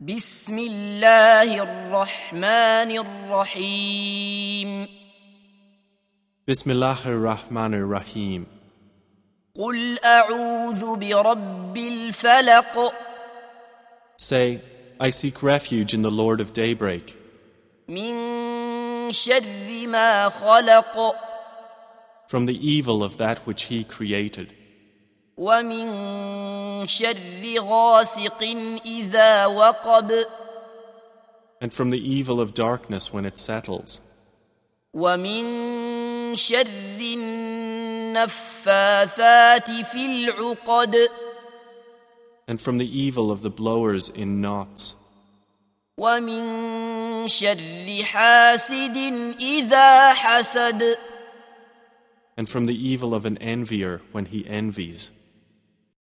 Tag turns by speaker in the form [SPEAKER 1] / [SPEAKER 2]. [SPEAKER 1] بسم الله الرحمن الرحيم
[SPEAKER 2] Bismillahir Rahmanir Rahim.
[SPEAKER 1] قل أعوذ برب الفلق
[SPEAKER 2] Say, I seek refuge in the Lord of daybreak,
[SPEAKER 1] من شر ما خلق
[SPEAKER 2] from the evil of that which He created,
[SPEAKER 1] ومن شر غاسق إذا وقب
[SPEAKER 2] and from the evil of darkness when it settles,
[SPEAKER 1] ومن شر النفاثات في العقد
[SPEAKER 2] and from the evil of the blowers in knots,
[SPEAKER 1] ومن شر حاسد إذا حسد
[SPEAKER 2] and from the evil of an envier when he envies,